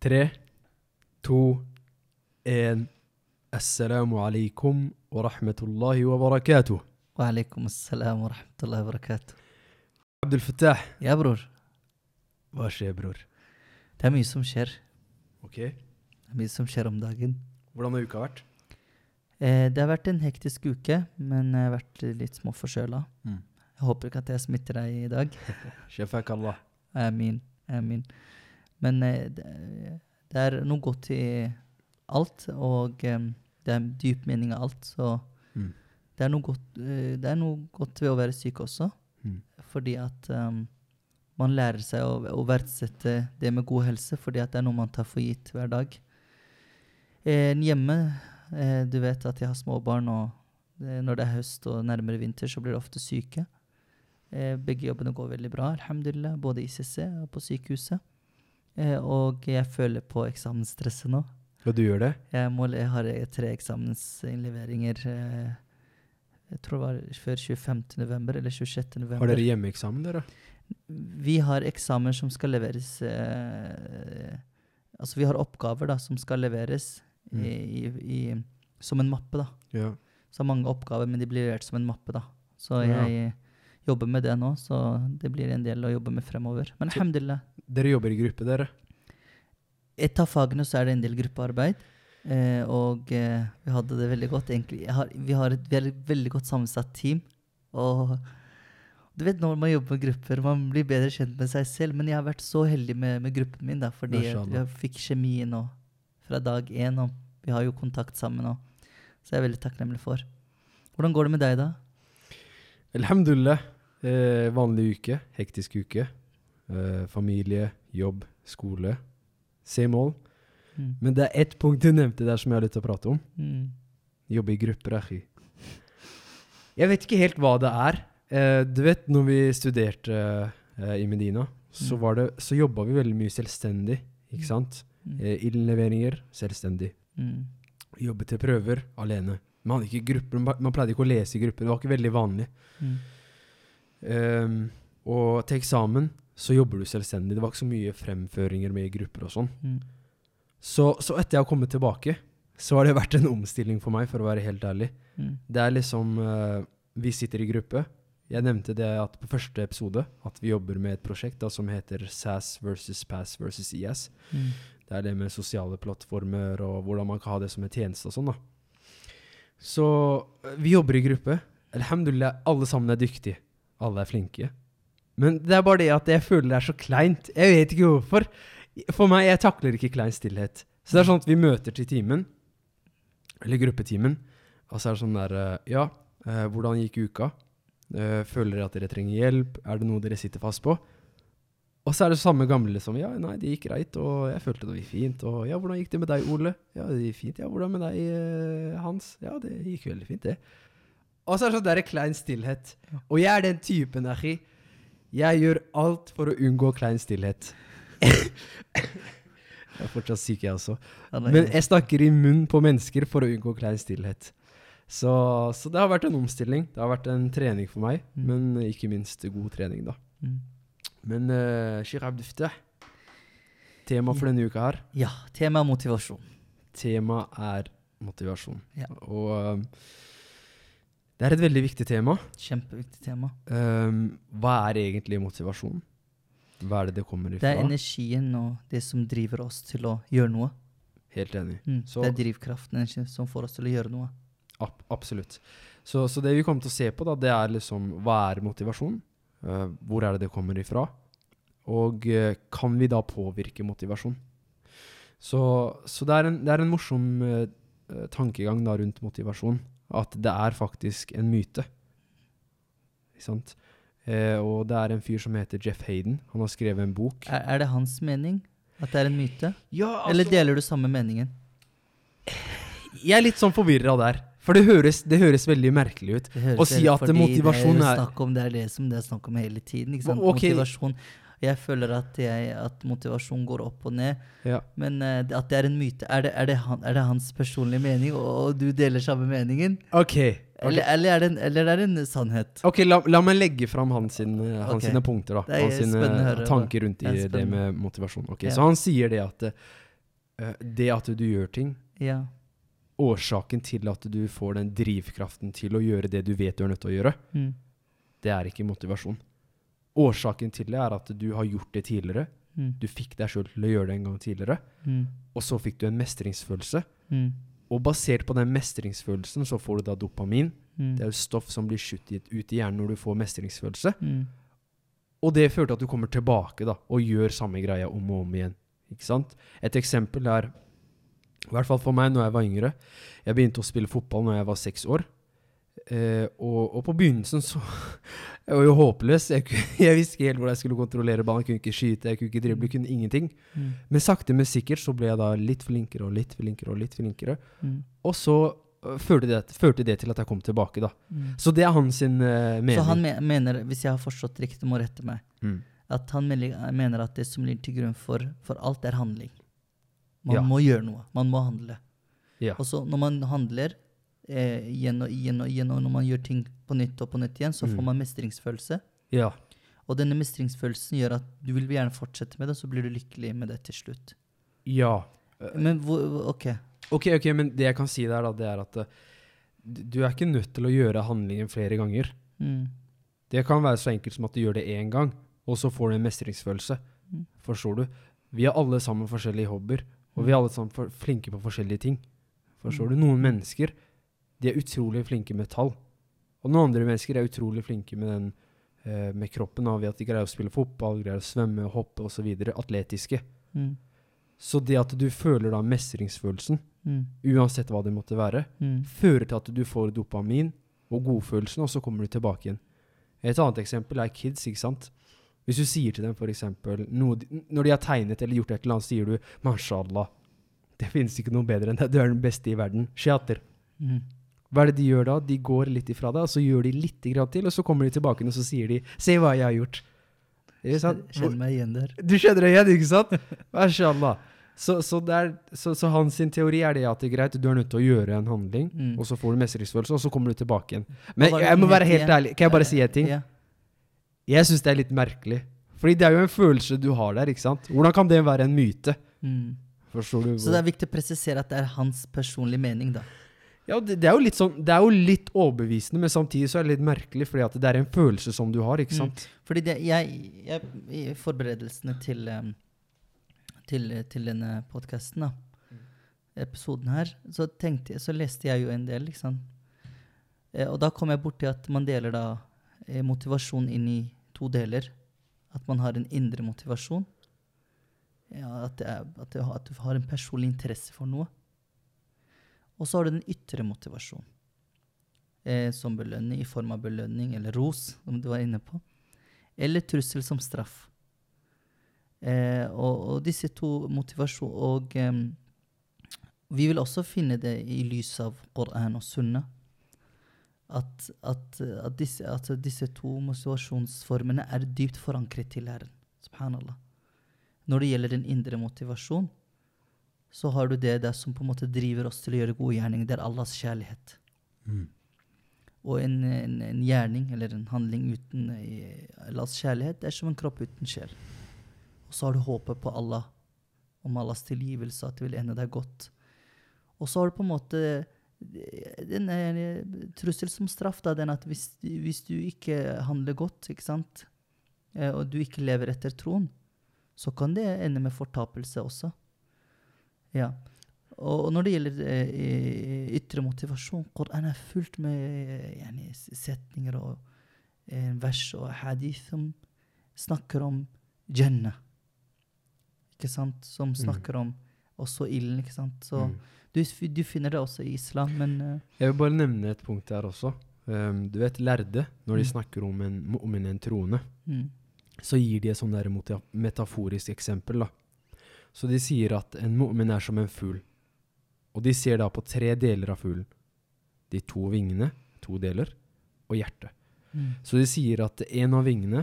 Tre, to, én. Assalamu alaikum wa rahmatullahi wa barakatuh. وعليكم السلام ورحمة الله وبركاته عبد الفتاح يا برور باش يا bror. Det er mye som skjer. Ok, Det er mye som skjer om dagen. Hvordan har uka vært? Eh, det har vært en hektisk uke, men jeg har vært litt småforkjøla. Mm. Jeg håper ikke at jeg smitter deg i dag. Shafak Allah. Amin. Amin. Men eh, det, det er noe godt i alt, og eh, det er en dyp mening av alt, så Mm. det er noe godt, eh, det er noe godt ved å være syk også. Mm. Fordi at um, man lærer seg å, å verdsette det med god helse, fordi at det er noe man tar for gitt hver dag. Eh, hjemme, eh, du vet at jeg har små barn, og eh, når det er høst og nærmere vinter, så blir de ofte syke. Eh, begge jobbene går veldig bra, alhamdulillah, både i ICC og på sykehuset. Eh, og jeg føler på eksamensstresset nå. Og du gjør det? Jeg, må, jeg har eh, tre eksamensinnleveringer. Eh, jeg tror det var før 25. november eller 26. november. Har dere hjemmeeksamen, dere? Vi har eksamener som skal leveres eh, Altså, vi har oppgaver da, som skal leveres Mm. i, i, i, som en mappe. da. Ja. Så mange oppgaver, men de blir levert som en mappe. da. Så Ja. jeg jobber med det nå, så det blir en del å jobbe med fremover. Men alhamdulillah. Dere jobber i gruppe, dere? Et av fagene så er det en del gruppearbeid. Eh, og eh, vi hadde det veldig godt, egentlig. Jeg har, vi, har et, vi er et veldig godt sammensatt team. Og du vet når man jobber med grupper, man blir bedre kjent med seg selv. Men jeg har vært så heldig med, med gruppen min, da, fordi Mashallah. jeg fikk kjemi nå fra dag én. Og vi har jo kontakt sammen nå. Så jeg er veldig takknemlig for. Hvordan går det med deg, da? Alhamdulillah. Eh, vanlig uke. Hektisk uke. Eh, familie, jobb, skole. Same all. Mm. Men det er ett punkt du nevnte der som jeg har lyst til å prate om. Mm. Jobbe i grupper, achi. Jeg vet ikke helt hva det er. Eh, du vet, når vi studerte eh, i Medina, så, Mm. var det, så jobba vi veldig mye selvstendig, ikke sant? Mm. Eh, innleveringer, selvstendig. Mm. Jobbe til prøver, alene. Man hadde ikke grupper, man man pleide ikke å lese i grupper, det var ikke veldig vanlig. Mm. Ehm, og til eksamen så jobber du selvstendig, det var ikke så mye fremføringer med i grupper og sånn. Mm. Så, så etter jeg har kommet tilbake, så har det vært en omstilling for meg, for å være helt ærlig. Mm. Det er liksom eh, Vi sitter i gruppe. Jeg nevnte det at på første episode at vi jobber med et prosjekt da, som heter SAS versus Pass versus IS. Mm. Det er det med sosiale plattformer og hvordan man kan ha det som en tjeneste og sånn. da. Så eh, vi jobber i gruppe. Alhamdulillah, alle sammen er dyktige. Alle er flinke. Men det er bare det at jeg føler det er så kleint. Jeg vet ikke hvorfor. For meg, jeg takler ikke klein stillhet. Så det er sånn at vi møter til timen, eller gruppetimen, og så er det sånn der eh, Ja, eh, hvordan gikk uka? Eh, Føler dere at dere trenger hjelp? Er det noe dere sitter fast på? Og så er det samme gamle liksom. Ja, nei, det gikk greit, og jeg følte det gikk fint. Og ja, hvordan gikk det med deg, Ole? Ja, det gikk fint. Ja, hvordan med deg, eh, Hans? Ja, det gikk veldig fint, det. Og så er det sånn der klein stillhet. Og jeg er den typen, Achi. Jeg gjør alt for å unngå klein stillhet. jeg er fortsatt syk, jeg også. Men jeg snakker i munn på mennesker for å unngå klein stillhet. Så, så det har vært en omstilling. Det har vært en trening for meg, Mm. men ikke minst god trening, da. Mm. Men uh, Sheikh Abdufte, tema for denne uka her, Ja, tema er motivasjon. tema er motivasjon. Ja. Og um, det er et veldig viktig tema. Kjempeviktig tema. Um, hva er egentlig motivasjon? Hva er det det kommer Det ifra? er energien og det som driver oss til å gjøre noe. Helt enig. Mm. Så- Det er drivkraften energi, som får oss til å gjøre noe. Ab absolutt. Så, så det vi kommer til å se på, da, det er liksom hva er motivasjon? Eh, hvor er det det kommer ifra? Og eh, kan vi da påvirke motivasjon? Så, så det, er en, det er en morsom eh, eh, tankegang da rundt motivasjon. At det er faktisk en myte. Ikke sant? Eh, og det er en fyr som heter Jeff Hayden. Han har skrevet en bok. Er, er det hans mening at det er en myte? Ja, altså- Eller deler du samme meningen? Jeg er litt sånn forvirra der. For det høres, det høres veldig merkelig ut. Det høres Å si veldig- at fordi motivasjon det er- snakk om, Det er det som det er snakk om hele tiden. Ikke sant? Hva- ok. Motivasjon. Jeg føler at, jeg, at motivasjon går opp og ned, Ja. men eh, det- at det er en myte Er det, er det, han, er det hans personlige mening, og, og du deler samme meningen? OK. Eller, eller, er det en, eller er det en sannhet? Ok, la, la meg legge fram hans, sin, hans Ok. sine punkter, da. Det er Hans sine spennende å høre, tanker rundt Det i er det spennende. med motivasjon. Ok, Ja. Så han sier det at eh, eh, det at du gjør ting, Ja. årsaken til at du får den drivkraften til å gjøre det du vet du er nødt til å gjøre, Mm. det er ikke motivasjon. Årsaken til det er at du har gjort det tidligere. Mm. Du fikk deg sjøl til å gjøre det en gang tidligere, Mm. og så fikk du en mestringsfølelse. Mm. Og basert på den mestringsfølelsen så får du da dopamin. Mm. Det er jo stoff som blir skutt i- ut i hjernen når du får mestringsfølelse. Mm. Og det fører til at du kommer tilbake da, og gjør samme greia om og om igjen. Ikke sant? Et eksempel er, i hvert fall for meg når jeg var yngre, jeg begynte å spille fotball når jeg var seks år. Eh, og, og på begynnelsen så Jeg var jo håpløs. Jeg, ku- jeg visste ikke helt hvordan jeg skulle kontrollere ballen. Jeg kunne ikke skyte, jeg kunne ikke drible, jeg kunne ingenting. Mm. Men sakte, men sikkert så ble jeg da litt flinkere og litt flinkere og litt flinkere. Mm. Og så eh, førte det, førte det til at jeg kom tilbake, da. Mm. Så det er hans sin, eh, mening. Så han me- mener, hvis jeg har forstått riktig, må rette meg, Mm. at han mel- mener at det som ligger til grunn for, for alt, er handling. Man Ja. må gjøre noe. Man må handle. Ja. Og så når man handler eh, igjen og igjen og igjen, og når man gjør ting på nytt og på nytt igjen, så Mm. får man mestringsfølelse. ja. Og denne mestringsfølelsen gjør at du vil gjerne fortsette med det, og så blir du lykkelig med det til slutt. Ja. Men hvor, ok. Ok, ok, men det jeg kan si der da, det er at eh, du du er ikke nødt til å gjøre handlingen flere ganger. Mm. Det kan være så enkelt som at du gjør det én gang, og så får du en mestringsfølelse. Mm. Forstår du? Vi er alle sammen forskjellige hobbyer, og vi er alle sammen for, flinke på forskjellige ting. Forstår du? Noen mennesker de er utrolig flinke med tall. Og noen andre mennesker er utrolig flinke med, den, eh, med kroppen, da, ved at de greier å spille fotball, greier å svømme, hoppe osv. Atletiske. Mm. Så det at du føler da mestringsfølelsen, Mm. uansett hva det måtte være, Mm. fører til at du får dopamin og godfølelsen, og så kommer du tilbake igjen. Et annet eksempel er kids, ikke sant? Hvis du sier til dem for eksempel, noe, de- når de har tegnet eller gjort et eller annet, sier du, mashallah, det finnes ikke noe bedre enn deg, du er den beste i verden, shater. Mm. Hva er det de gjør da? De går litt ifra deg, og så gjør de litt grann til, og så kommer de tilbake igjen, og så sier de, se hva jeg har gjort. Ikke sant? Kjenner meg igjen der. Du skjønner det igjen, ikke sant? Mashallah. Så, så, det er- så, så hans sin teori er det at det er greit, du er nødt til å gjøre en handling, Mm. og så får du mestringsfølelse, og så kommer du tilbake igjen. Men Hva var det jeg må som være het helt igjen? ærlig, kan jeg bare si en ting? Ja. Jeg syns det er litt merkelig. Fordi det er jo en følelse du har der, ikke sant? Hvordan kan det være en myte? Mm. Forstår du? Så det er viktig å presisere at det er hans personlige mening, da. Ja, det, det er jo litt sånn, det er jo litt overbevisende, men samtidig så er det litt merkelig, fordi at det er en følelse som du Mm. har, ikke sant? Fordi det, jeg, jeg I forberedelsene til, em, til, til denne podkasten, da, episoden her, så, tenkte, jeg- så leste jeg jo en del, ikke sant. Eh, Og da kom jeg borti at man deler da eh, motivasjon inn i to deler. At man har en indre motivasjon. Ja, at, det er, at, det, at du har en personlig interesse for noe. Og så har du den ytre motivasjonen. Eh, som belønning, i form av belønning eller ros, som du var inne på eller trussel som straff. Eh, og, og disse to motivasjon... Og em, vi vil også finne det i lys av Koran og Sunna. At, at, at, disse, at disse to motivasjonsformene er dypt forankret til læreren. Subhanallah. Når det gjelder den indre motivasjon, så har du det der som på en måte driver oss til å gjøre gode gjerninger. Det er Allahs kjærlighet. Og en, en, en gjerning eller en handling uten eh, Allahs kjærlighet det er som en kropp uten sjel. Og så har du håpet på Allah, om Allahs tilgivelse, at det vil ende deg godt. Og så har du på en måte eh, den eh, trussel som straff, da, den at hvis, hvis du ikke handler godt, ikke sant, eh, og du ikke lever etter troen, så kan det ende med fortapelse også. Ja. Og og når det gjelder eh, i- ytre motivasjon, Koran er fullt med eh, yani, s- setninger og eh, vers og hadith som snakker om Jannah. Ikke sant? Som snakker om også ilden, ikke sant? Så Mm. du, f- du finner det også i islam, men eh, Jeg vil bare nevne et punkt der også. Um, du vet lærde, når de snakker om en, om en, en troende, mm, så gir de et sånn der mota- metaforisk eksempel. Da. Så de sier at en mu'min er som en fugl. Og de ser da på tre deler av fuglen. De to vingene, to deler, og hjertet. mm, Så de sier at en av vingene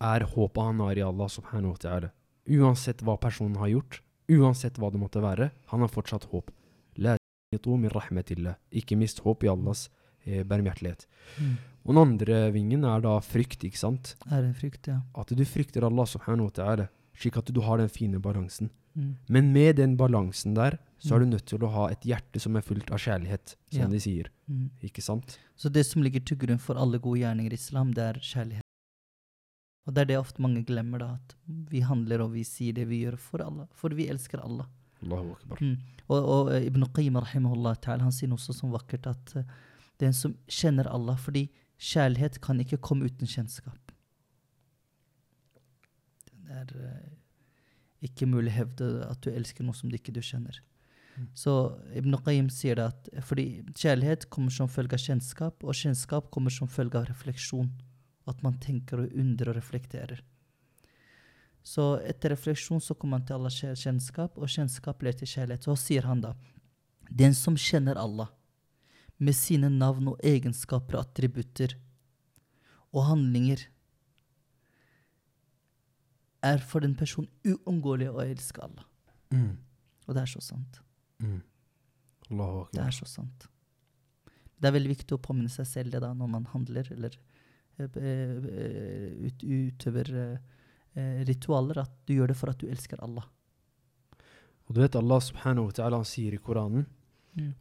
er håpet han har i Allah subhanahu wa ta'ala. Uansett hva personen har gjort, uansett hva det måtte være, han har fortsatt håp. La taqnitu min rahmatillah. Ikke mist håp i Allahs eh, barmhjertighet. mm. Og den andre vingen er da frykt, ikke sant? Ærefrykt, ja. At du frykter Allah subhanahu wa ta'ala, slik at du har den fine balansen. Mm. Men med den balansen der, så er Mm. du nødt til å ha et hjerte som er fullt av kjærlighet, som Ja. de sier. Mm. Ikke sant? Så det som ligger til grunn for alle gode gjerninger i islam, det er kjærlighet. Og det er det ofte mange glemmer, da, at vi handler og vi sier det vi gjør for Allah, for vi elsker Allah. Allahu akbar. Mm. Og, og eh, Ibn Qayyim rahimahullah ta'ala, han sier noe så sånn vakkert at eh, den som kjenner Allah Fordi kjærlighet kan ikke komme uten kjennskap. Det er eh, ikke mulig å hevde at du elsker noe som du ikke du kjenner. Mm. Så Ibn Qayyim sier det at eh, fordi kjærlighet kommer som følge av kjennskap, og kjennskap kommer som følge av refleksjon. At man tenker og undrer og reflekterer. Så etter refleksjon så kommer han til Allahs kjær- kjennskap, og kjennskap leder til kjærlighet. Så sier han da Den som kjenner Allah med sine navn og egenskaper og attributter og handlinger, er for den personen uunngåelig å elske Allah. Mm. Og det er så sant. Mm. Allahu Det akbar. er så sant. Det er veldig viktig å påminne seg selv det da, når man handler eller eh, eh, ut, utøver eh, eh, ritualer, at du gjør det for at du elsker Allah. Og du vet Allah subhanahu wa ta'ala han sier i Koranen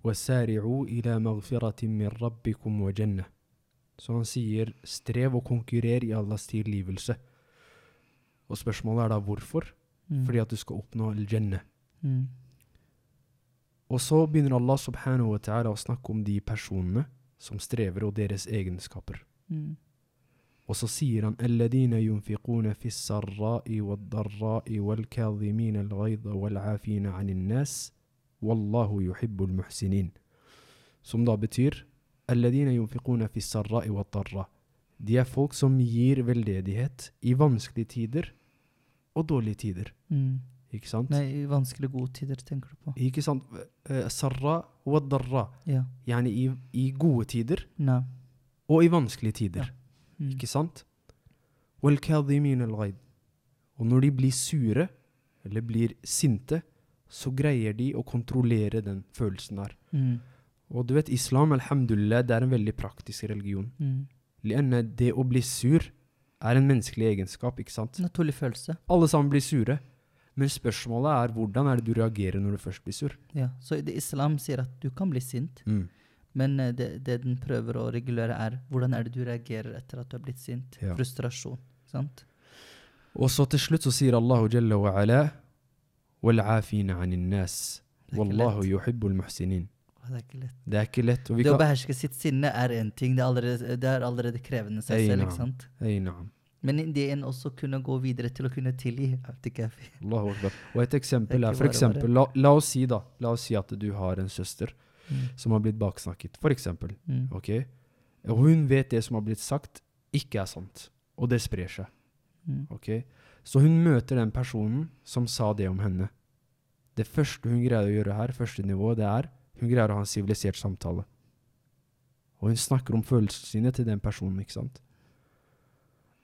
وَسَارِعُوا إِلَى مَغْفِرَةٍ مِّن رَبِّكُمْ وَجَنَّةٍ Så han sier strev og konkurrer i Allahs tilgivelse. Og spørsmålet er da hvorfor? Mm. Fordi at du skal oppnå al-jannah. mm. Og så begynner Allah subhanahu wa ta'ala å snakke om de personene som strever og deres egenskaper. Mm. Og så sier han «Alladina yunfiquna fis sarra'i wal darra'i wal kadhimina al ghayda wal afina 'anil nas wallahu yuhibbul muhsinin». Som da betyr «Alladina yunfiquna fis sarra'i wal darra». De er folk som gir veldedighet i vanskelige tider og dårlige tider. Mm. Ikke sant? Nei, i vanskelige gode tider, tenker du på. Ikke sant? Eh, Sarra wal darra. Ja. Gjerne i, i gode tider Nei. og i vanskelige tider. Ja. Mm. Ikke sant? وَالْكَاظِمِينَ الْغَيْض. Og når de blir sure, eller blir sinte, så greier de å kontrollere den følelsen der. Mm. Og du vet, islam, alhamdulillah, det er en veldig praktisk religion. Mm. Lianne, Det å bli sur er en menneskelig egenskap, ikke sant? Naturlig følelse. Alle sammen blir sure. Men spørsmålet er hvordan er det du reagerer når du først blir sur? Ja. Så i det islam sier at du kan bli sint, men eh, det, det den prøver å regulere, er hvordan er det du reagerer etter at du har blitt sint. Ja. Frustrasjon. Sant? Og så til slutt så sier Allahu jalla wa ala وَالْعَافِينَ عَنِ النَّاسِ Det er ikke وَاللَّهُ lett. يُحِبُّ الْمُحْسِنِينَ Det er ikke lett. Det er ikke lett. Og vi Det å kan... beherske sitt sinne er én ting. Det er allerede, det er allerede krevende seg Ei, selv. na'am. ikke sant? Ei, na'am. Men det en også kunne gå videre til å kunne tilgi. jeg vet ikke, jeg- Allahu akbar. Og et eksempel Det er er ikke for bare bare. eksempel, la, la oss si da, la oss si at du har en søster Mm. som har blitt baksnakket, for eksempel, Mm. ok? Og hun vet det som har blitt sagt, ikke er sant, og det sprer seg, Mm. ok? Så hun møter den personen som sa det om henne. Det første hun greier å gjøre her, første nivå, det er, hun greier å ha en sivilisert samtale. Og hun snakker om følelsene sine til den personen, ikke sant?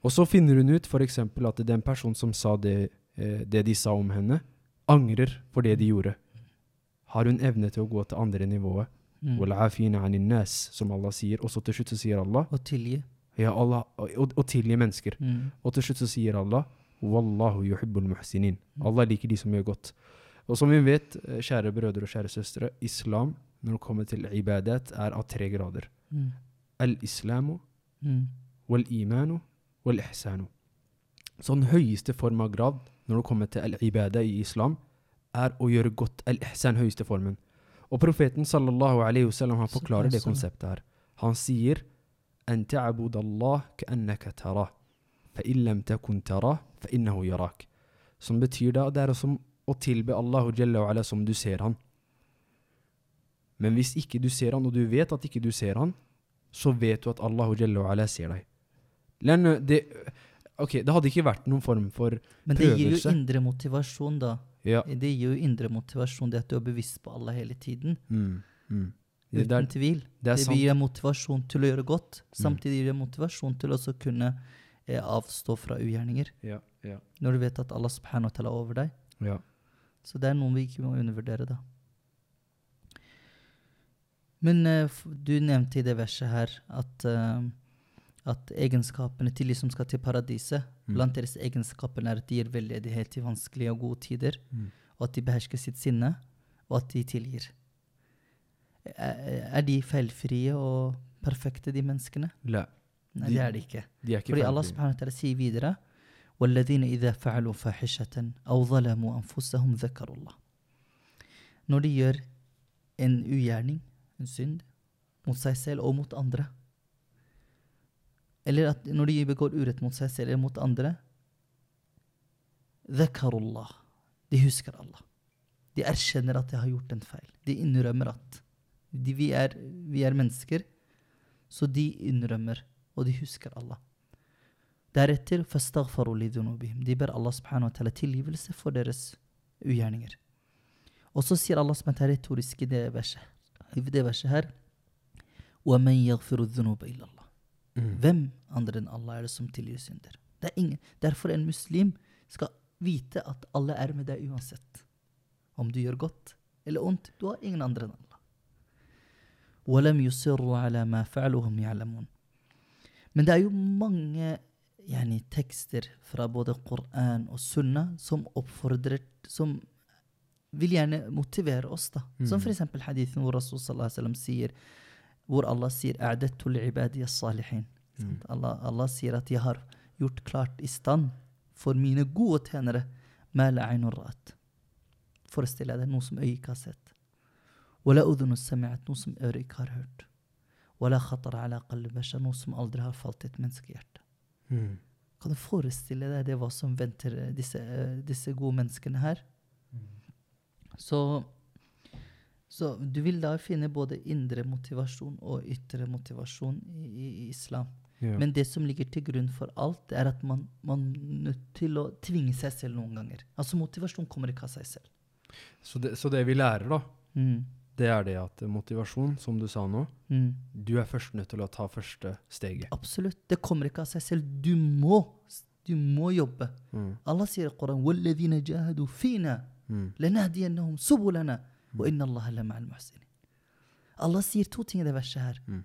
Og så finner hun ut for eksempel at den personen som sa det, eh, det de sa om henne, angrer for det de gjorde. Har hun evne til å gå til andre nivået? Mm. «Wal'afina 'anil nas», Som Allah sier. Og så til slutt så sier Allah, Og tilgi. ja Allah og, og, og tilgi mennesker. Mm. Og til slutt så sier Allah Wallahu yuhibbul muhsinin. Allah liker de som gjør godt. Og som vi vet, eh, kjære brødre og kjære søstre, islam når det kommer til ibadat, er av tre grader. Mm. Al-islamu Mm. wal-imanu wal-ihsanu. Så den høyeste form av grad når det kommer til al-ibada i islam, er å gjøre godt. Al-ihsan høyeste formen. Og profeten sallallahu alaihi wasallam han forklarer det konseptet her. Han sier أن تعبد الله كأنك تراه فإن لم تكن تراه فإنه يراك Som betyr da det er som å tilbe Allahu Jalla wa ala som du ser han. Men hvis ikke du ser han, og du vet at ikke du ser han, så vet du at Allahu Jalla wa ala ser deg. Len, det, ok, det hadde ikke vært noen form for Men det gir jo Prøvelse. indre motivasjon, da. Ja. Det gir jo indre motivasjon, det at du er bevisst på Allah hele tiden. Mm, mm. Det, Uten der, tvil. det er Det sant. Mm. gir deg motivasjon til å gjøre godt. Samtidig gir det motivasjon til å også kunne eh, avstå fra ugjerninger. Ja, ja. Når du vet at Allah subhanahu wa ta'ala er over deg. Ja. Så det er noen vi ikke må undervurdere, da. Men eh, f- du nevnte i det verset her at, eh, at egenskapene til de som skal til paradiset, Mm. blant deres egenskaper er at de gir veldedighet i vanskelige og gode tider, Mm. og at de behersker sitt sinne, og at de tilgir. Er er de feilfrie og perfekte, de menneskene? La. Nei, De- det er de ikke. De er ikke Fordi Allah ferdige. subhanahu wa ta'ala sier videre وَالَّذِينَ إِذَا فَعَلُوا فَحِشَةً أَوْ ظَلَمُوا أَنفُسَهُمْ ذَكَرُوا اللَّهِ Når de gjør en ugjerning, en synd, mot seg selv og mot andre, eller at når de begår urett mot seg selv eller mot andre, ذَكَرُوا اللَّهِ De husker Allah. De erkjenner at de har gjort en feil. De innrømmer at de, vi, er, vi er mennesker, så de innrømmer, og de husker Allah. Deretter «Fastaghfaru li dhunubihim». De ber Allah subhanahu wa ta'ala tilgivelse for deres ugjerninger. Og så sier Allah som er retorisk i det verset, i det verset her وَمَنْ يَغْفِرُ الذُّنُوبَ إِلَّا اللَّهِ Mm. Hvem andre enn Allah er det som tilgir synder? Det er ingen. Derfor en muslim skal vite at alle er med deg uansett. Om du gjør godt eller ondt, du har ingen andre enn Allah. وَلَمْ يُسِرُّوا عَلَى مَا فَعَلُوهُمْ يَعْلَمُونَ Men det er jo mange yani, tekster fra både Koran og Sunna som oppfordrer, som vil gjerne motivere oss da. Som for eksempel hadithen hvor Rasul sallallahu alaihi wasallam sier, hvor Allah sier, «A'dadtu li'ibadi as-salihin». mm, Sant? Allah, Allah sier at jeg har gjort klart i stand for mine gode tjenere, «Ma la aynun ra'at». Forestill deg det, noe som øyet ikke har sett. «Wa la udhunu sami'at», noe som øret ikke har hørt. «Wa la khatar ala qalbi bashar», noe som aldri har falt i et menneskehjerte. Mm. Kan du forestille deg det hva som venter eh, disse, eh, disse gode menneskene her? Så, så du vil da finne både indre motivasjon og ytre motivasjon i, i, i islam. Ja. Men det som ligger til grunn for alt, det er at man, man er nødt til å tvinge seg selv noen ganger. Altså motivasjon kommer ikke av seg selv. så, det, så det vi lærer, da, Mm. det er det at eh, motivasjon, som du sa nå Mm. Du er først nødt til å ta første steget. Absolutt. Det kommer ikke av seg selv. Du må, du må jobbe. Mm. Allah sier i Koranen «Walladhina jahadu fina Mm. لنهدينهم سبلنا وإن الله لمع المحسنين Allah sier to ting i det verset her. Mm.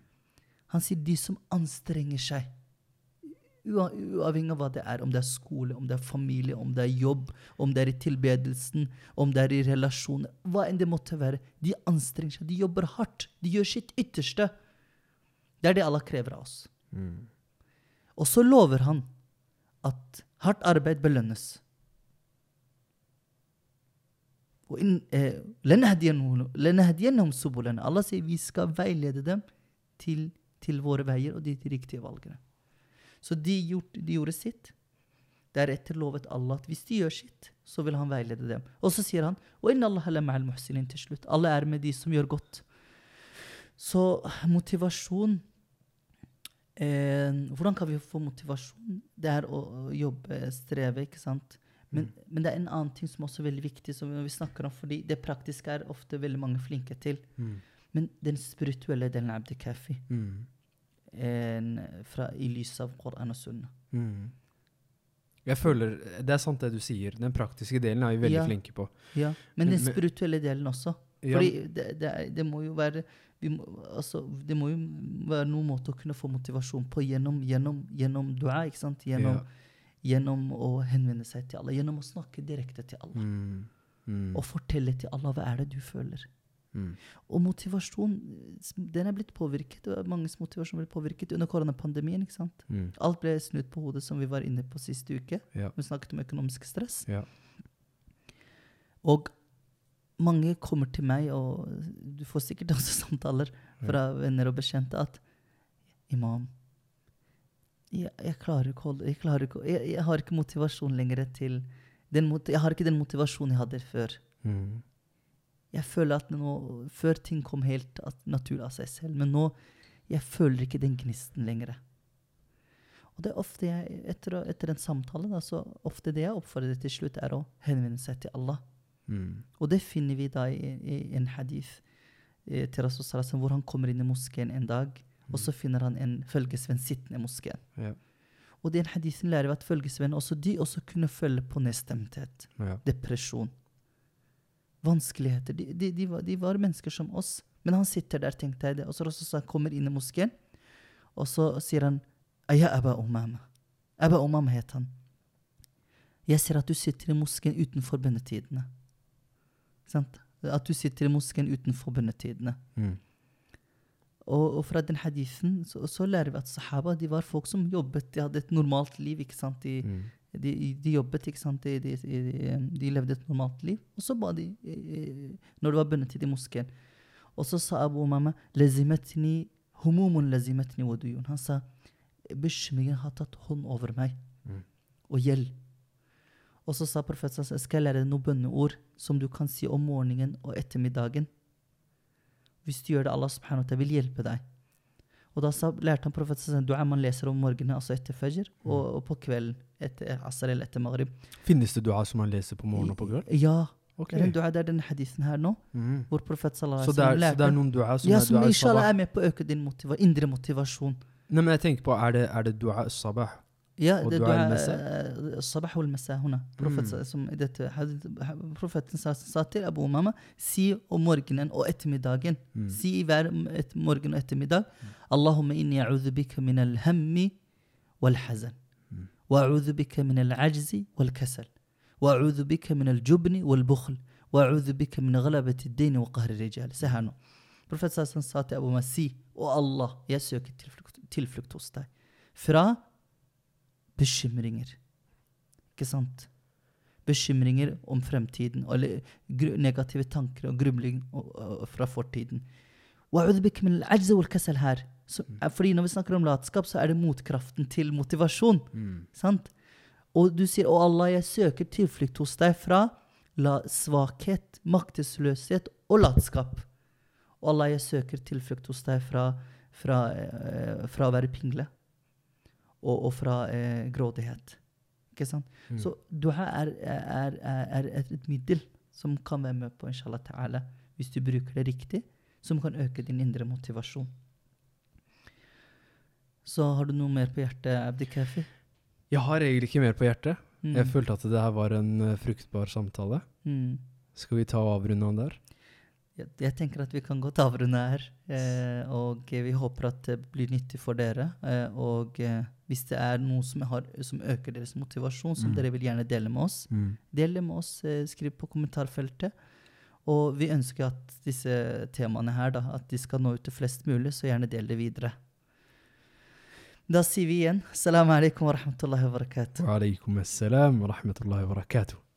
Han sier de som anstrenger seg, ua- uavhengig av hva det er, om det er skole, om det er familie, om det er jobb, om det er i tilbedelsen, om det er i relasjoner, hva enn det måtte være, de anstrenger seg, de jobber hardt, de gjør sitt ytterste. Det er det Allah krever av oss. Mm. Og så lover han at hardt arbeid belønnes. Og inn- eh, لَنَهْدِيَنَّهُ- لَنَهْدِيَنَّهُمْ سُبُلَنَا. Allah sier vi skal veilede dem til, til våre veier og de riktige valgene. Så de, gjort, de gjorde sitt. Deretter lovet Allah at hvis de gjør sitt, så vil han veilede dem. Og så sier han وَإِنَّ اللَّهَ لَمَعَ الْمُحْسِنِينَ» til slutt. Alle er med de som gjør godt. Så motivasjon Eh, hvordan kan vi få motivasjon? Det er å å jobbe, streve, ikke sant? Men, Mm. men det er en annen ting som også er veldig viktig, som vi snakker om, fordi det praktiske er ofte veldig mange flinke til. Mm. Men den spirituelle delen av abdikafi, Mm. en- fra i lys av Koran og Sunna. Mm. Jeg føler, Det er sant det du sier. Den praktiske delen er vi veldig Ja. flinke på. Ja. Men den Men- men- spirituelle delen også. Ja. Fordi det, det, er- det må jo være vi må, altså, Det må jo være noen måte å kunne få motivasjon på gjennom, gjennom, gjennom dua, ikke sant? Gjennom, Ja. gjennom å henvende seg til Allah, gjennom å snakke direkte til Allah. Mm. Mm. Og fortelle til Allah hva er det du føler. Mm. Og motivasjon, den er blitt påvirket. og Manges motivasjon ble påvirket under koronapandemien. ikke sant? Mm. Alt ble snudd på hodet, som vi var inne på siste uke. Ja. Vi snakket om økonomisk stress. Ja. Og mange kommer til meg, og du får sikkert også samtaler fra venner og bekjente, at Imam, jeg, jeg klarer ikke å holde jeg, klarer ikke, å- jeg, jeg har ikke motivasjon lenger til den, mot- Jeg har ikke den motivasjonen jeg hadde før. Mm. Jeg føler at nå, Før ting kom helt at, naturlig av seg selv, men nå jeg føler ikke den gnisten lenger. Og det er ofte jeg, etter, å- etter en samtale, da, så ofte det jeg oppfordrer til slutt, er å henvende seg til Allah. Mm. Og det finner vi da i, i en hadith eh, til Rasul Salasen, hvor han kommer inn i moskeen en dag, og så finner han en følgesvenn sittende i moskeen. Ja. Og den hadithen lærer vi at følgesvenn også de også kunne følge på nedstemthet Ja. depresjon, vanskeligheter. De, de, de, var, de var mennesker som oss. Men han sitter der, tenkte jeg det. Og så Rasul sa- kommer inn i moskeen, og så sier han «Aya Aba Umama». Aba Umama het han. Jeg ser at du sitter i moskeen utenfor bønnetidene. Ikke sant? At du sitter i moskeen utenfor bønnetidene. Mm. Og, og fra den hadithen så, så lærer vi at sahaba de var folk som jobbet. De hadde et normalt liv. ikke sant? De, Mm. de, de jobbet, ikke sant? De, de, de, um, de levde et normalt liv. Og så ba de eh, når det var bønnetid i moskeen. Og så sa Abu Umama «Lazimatni- humumun lazimatni waduyun». Han sa bekymringen har tatt hånd over meg Mm. og gjeld. Og så sa profeten jeg skal jeg lære deg noen bønneord som du kan si om morgenen og ettermiddagen. Hvis du gjør det, Allah subhanahu wa ta'ala vil hjelpe deg. Og da sa, lærte han profeten en dua man leser om morgenen, altså etter fajr, og, og på kvelden etter eh, asr eller etter maghrib. Finnes det dua som man leser på morgen og på kveld? Ja. Ok. Den dua der, den hadithen her nå, Mm. hvor profet sallallahu Så alaihi det er, wasallam så det er lærte noen dua som Ja, er som dua inshallah al-sabah? er med på å øke din motiva indre motivasjon. Nei, men jeg tenker på, er det, er det dua al-sabah? Ja, Og det dua dua al-masa? eh, sabah wal masa huna. Profet, Mm. som i dette, hadith- profeten sa, sa til Abu Umama si om morgenen og ettermiddagen. Mm. Si i hver m- et, morgen og ettermiddag Allahumma inni a'udhu bika min al-hammi wal-hazan. Mm. وأعوذ بك من العجز والكسل وأعوذ بك من الجبن والبخل وأعوذ بك من غلبة الدين وقهر الرجال Se her nå. Profet Sassan sa til Abu Masi og Allah, jeg søker tilflukt, tilflukt hos deg. Fra bekymringer. Ikke sant? Bekymringer om fremtiden, eller gru, negative tanker og grubling og, og, fra fortiden. وأعوذ بك من العجز والكسل her. Så, fordi når vi snakker om latskap, så er det motkraften til motivasjon. Mm. Sant? Og du sier 'Å Allah, jeg søker tilflukt hos deg fra la svakhet, maktesløshet og latskap'. Og Allah, jeg søker tilflukt hos deg fra, fra, eh, fra å være pingle og, og fra eh, grådighet. Ikke sant? Mm. Så duha er, er, er, er et, et middel som kan være med på, inshallah ta'ala, hvis du bruker det riktig, som kan øke din indre motivasjon. Så har du noe mer på hjertet, Abdi Kafi? Jeg har egentlig ikke mer på hjertet. Mm. Jeg følte at det her var en eh, fruktbar samtale. Mm. Skal vi ta og avrunde han der? Jeg, jeg tenker at vi kan godt avrunde her. Eh, og vi håper at det blir nyttig for dere. Eh, og eh, hvis det er noe som, har, som øker deres motivasjon, som Mm. dere vil gjerne dele med oss, del det med oss. Eh, skriv på kommentarfeltet. Og vi ønsker at disse temaene her da, at de skal nå ut til flest mulig, så gjerne del det videre. Da sier vi igjen salam alaikum wa rahmatullahi wa barakatuh. Wa alaikum assalam wa rahmatullahi wa barakatuh.